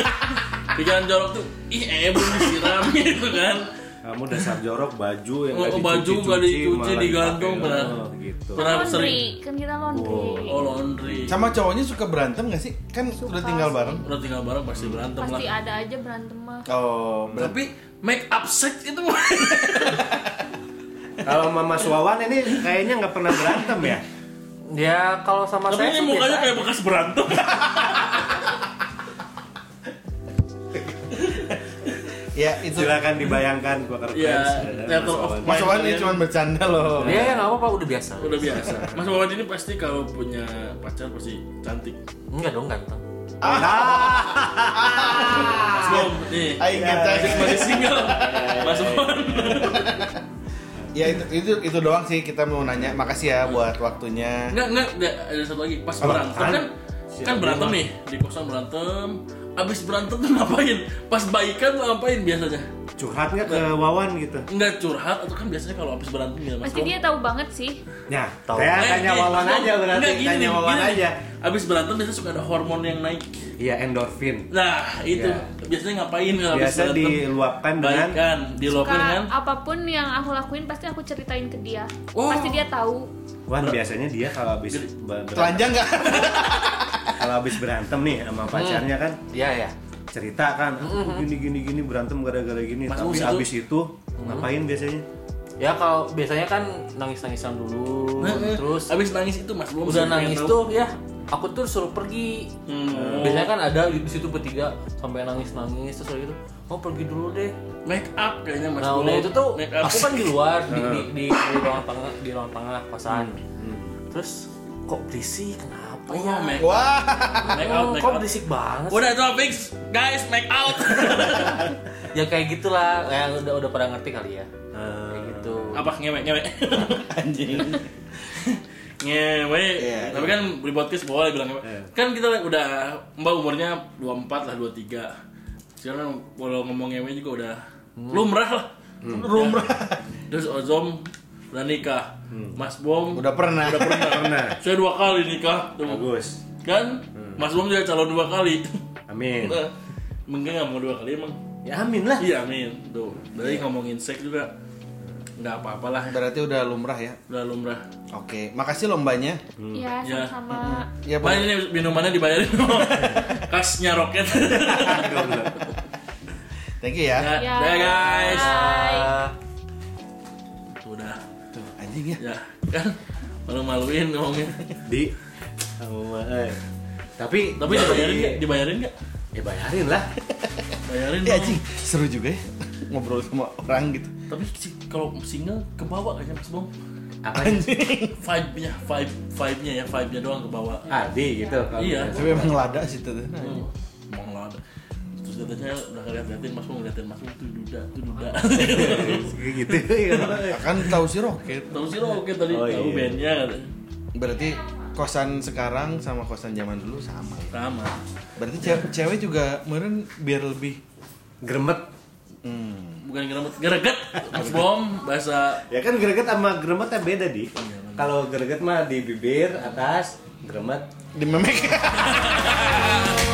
[SPEAKER 2] pikiran jorok tuh ih eh belum disiram gitu kan
[SPEAKER 1] kamu dasar jorok baju yang
[SPEAKER 2] Oh, baju nggak dicuci
[SPEAKER 1] malah
[SPEAKER 2] digantung
[SPEAKER 1] dipakai.
[SPEAKER 2] benar
[SPEAKER 1] Oh, gitu
[SPEAKER 2] pernah sering
[SPEAKER 5] Laundry kan kita laundry.
[SPEAKER 2] oh laundry
[SPEAKER 3] Sama cowoknya suka berantem nggak sih? Kan sudah tinggal bareng.
[SPEAKER 2] udah tinggal bareng pasti berantem lah
[SPEAKER 5] Pasti ada aja berantem mah.
[SPEAKER 3] Oh, berarti
[SPEAKER 2] tapi make up sex itu
[SPEAKER 1] kalau mama suawan ini kayaknya nggak pernah berantem ya
[SPEAKER 4] Ya kalau sama
[SPEAKER 2] tapi
[SPEAKER 4] saya
[SPEAKER 2] ini
[SPEAKER 4] sih
[SPEAKER 2] mukanya
[SPEAKER 4] biasa.
[SPEAKER 2] kayak bekas berantem
[SPEAKER 3] ya itu
[SPEAKER 1] silakan dibayangkan gua kerja
[SPEAKER 2] Iya, theater of
[SPEAKER 3] Mas Wawan ini cuma bercanda loh.
[SPEAKER 4] Dia ya nggak apa-apa udah biasa.
[SPEAKER 2] udah biasa mas Wawan ini pasti kalau punya pacar pasti cantik
[SPEAKER 4] Enggak dong ganteng.
[SPEAKER 1] Ah,
[SPEAKER 2] mas Bob nih Iya,
[SPEAKER 3] Aing kata
[SPEAKER 2] masih single
[SPEAKER 1] Iya,
[SPEAKER 2] Mas Bon
[SPEAKER 3] ya itu, itu itu doang sih kita mau nanya. Makasih ya buat waktunya.
[SPEAKER 2] Enggak, enggak, enggak, ada satu lagi Pas
[SPEAKER 3] Apa?
[SPEAKER 2] berantem kan Kan berantem nih, di kosan berantem Abis berantem tuh ngapain? Pas baikan tuh ngapain biasanya?
[SPEAKER 1] curhat nggak ke wawan gitu
[SPEAKER 2] Enggak curhat, atau kan biasanya kalau abis berantem ya Mas
[SPEAKER 5] Pasti
[SPEAKER 2] Bon?
[SPEAKER 5] dia tahu banget sih.
[SPEAKER 1] ya
[SPEAKER 4] Tahu.
[SPEAKER 1] saya
[SPEAKER 2] Eh,
[SPEAKER 1] tanya
[SPEAKER 2] gini,
[SPEAKER 1] wawan
[SPEAKER 2] Mas Bon,
[SPEAKER 1] aja berarti
[SPEAKER 2] enggak, gini
[SPEAKER 1] tanya
[SPEAKER 2] nih,
[SPEAKER 1] wawan
[SPEAKER 2] gini nih.
[SPEAKER 1] aja
[SPEAKER 2] Abis berantem biasanya suka ada hormon yang naik
[SPEAKER 1] iya endorfin
[SPEAKER 2] Nah, itu
[SPEAKER 1] Ya.
[SPEAKER 4] Iya.
[SPEAKER 2] Biasanya ngapain kalau abis
[SPEAKER 1] biasa
[SPEAKER 2] berantem?
[SPEAKER 1] diluapkan
[SPEAKER 4] kan?
[SPEAKER 1] dengan
[SPEAKER 2] Baikan, dilakukan
[SPEAKER 5] Suka
[SPEAKER 2] kan?
[SPEAKER 5] apapun yang aku lakuin pasti aku ceritain ke dia.
[SPEAKER 2] Oh.
[SPEAKER 5] Pasti dia tahu.
[SPEAKER 1] Wan biasanya dia kalau habis ber- berantem,
[SPEAKER 3] Telanjang nggak?
[SPEAKER 1] kalau habis berantem nih sama
[SPEAKER 2] Hmm.
[SPEAKER 1] pacarnya kan
[SPEAKER 4] Iya ya.
[SPEAKER 1] cerita kan "Aku gini gini gini berantem gara-gara gini
[SPEAKER 2] Mas
[SPEAKER 1] tapi
[SPEAKER 2] Mus itu- Hmm.
[SPEAKER 1] habis itu ngapain biasanya
[SPEAKER 4] Ya kalau biasanya kan nangis-nangisan dulu,
[SPEAKER 2] Nah, eh,
[SPEAKER 4] terus
[SPEAKER 2] abis nangis itu Mas Bon
[SPEAKER 4] udah
[SPEAKER 2] sering
[SPEAKER 4] nangis
[SPEAKER 2] tahu.
[SPEAKER 4] tuh ya aku tuh suruh pergi
[SPEAKER 2] Hmm.
[SPEAKER 4] biasanya kan ada di situ bertiga sampai nangis nangis terus udah gitu mau pergi dulu deh
[SPEAKER 2] make up kayaknya mas
[SPEAKER 4] nah
[SPEAKER 2] Bro.
[SPEAKER 4] udah itu tuh
[SPEAKER 2] make up
[SPEAKER 4] aku kan di luar di di, di, di ruang tengah di ruang tengah kosan terus kok berisik kenapa
[SPEAKER 2] Hmm, oh
[SPEAKER 4] ya
[SPEAKER 2] make up
[SPEAKER 3] Wah,
[SPEAKER 2] make
[SPEAKER 4] Oh,
[SPEAKER 2] out make
[SPEAKER 4] kok
[SPEAKER 2] out
[SPEAKER 4] berisik banget sih?
[SPEAKER 2] udah itu fix guys make out
[SPEAKER 4] ya kayak gitulah kayak udah udah pada ngerti kali ya
[SPEAKER 1] Eh,
[SPEAKER 4] kayak gitu
[SPEAKER 2] apa ngewek ngewek
[SPEAKER 3] anjing.
[SPEAKER 2] ngewek
[SPEAKER 3] Iya.
[SPEAKER 2] tapi kan beli podcast boleh bilang ngewek
[SPEAKER 1] Iya.
[SPEAKER 2] kan kita udah mbak umurnya 24 lah 23 sekarang kalau ngomong ngewek juga udah lumrah lah lumrah
[SPEAKER 3] Iya.
[SPEAKER 2] terus ozom udah nikah mas bom
[SPEAKER 3] Udah pernah.
[SPEAKER 2] udah pernah.
[SPEAKER 1] Pernah.
[SPEAKER 2] saya dua kali nikah tuh.
[SPEAKER 1] bagus
[SPEAKER 2] kan mas bom juga calon dua kali
[SPEAKER 1] amin
[SPEAKER 2] Eh, mungkin nggak mau dua kali emang
[SPEAKER 1] ya amin lah
[SPEAKER 2] iya amin tuh dari ngomongin seks juga Iya. nggak apa-apalah
[SPEAKER 3] Berarti udah lumrah ya.
[SPEAKER 2] udah lumrah
[SPEAKER 3] Oke, makasih lombanya.
[SPEAKER 5] Ya,
[SPEAKER 2] Ya.
[SPEAKER 5] sama-sama.
[SPEAKER 3] Ya,
[SPEAKER 2] Pak
[SPEAKER 3] Pak.
[SPEAKER 2] ini minumannya dibayarin kasnya roket.
[SPEAKER 3] Thank you ya.
[SPEAKER 2] ya, dah, guys.
[SPEAKER 5] Iya, Bye.
[SPEAKER 4] Ah,
[SPEAKER 2] Udah.
[SPEAKER 3] Tuh, anjing ya.
[SPEAKER 2] Ya, kan malu-maluin ngomongnya.
[SPEAKER 1] di sama eh. tapi
[SPEAKER 2] Tapi dibayarin enggak? Dibayarin enggak?
[SPEAKER 1] ya bayarin lah
[SPEAKER 2] Bayarin dong.
[SPEAKER 3] Ini Iya, anjing seru juga ya ngobrol sama orang gitu.
[SPEAKER 2] Tapi si- kalau single ke bawah kayaknya Mas Bom.
[SPEAKER 1] apa sih
[SPEAKER 2] Vibe-nya, vibe vibe-nya ya, vibe-nya doang ke bawah.
[SPEAKER 1] Adi gitu kalau
[SPEAKER 2] Iya.
[SPEAKER 1] gitu.
[SPEAKER 3] Tapi emang lada sih Nah, tuh.
[SPEAKER 2] Hmm. Emang lah ada. Terus katanya udah ngeliat-ngeliatin Mas Bom ngeliatin Mas Bom tuh duda, tuh duda.
[SPEAKER 1] Kayak gitu ya.
[SPEAKER 3] Kan tahu sih roket.
[SPEAKER 2] Tahu sih lo oke tadi
[SPEAKER 1] Oh,
[SPEAKER 2] tahu
[SPEAKER 1] iya.
[SPEAKER 2] bandnya
[SPEAKER 3] Berarti kosan sekarang sama kosan zaman dulu sama. ya.
[SPEAKER 2] sama.
[SPEAKER 3] Berarti cewek, cewek juga meren biar lebih
[SPEAKER 1] gremet
[SPEAKER 3] hmm,
[SPEAKER 2] Bukan ngeremet, ngereget Mas Bom bahasa
[SPEAKER 1] ya kan greget sama gremetnya beda di kalau greget mah di bibir atas gremet
[SPEAKER 3] dimemek.
[SPEAKER 2] Bye.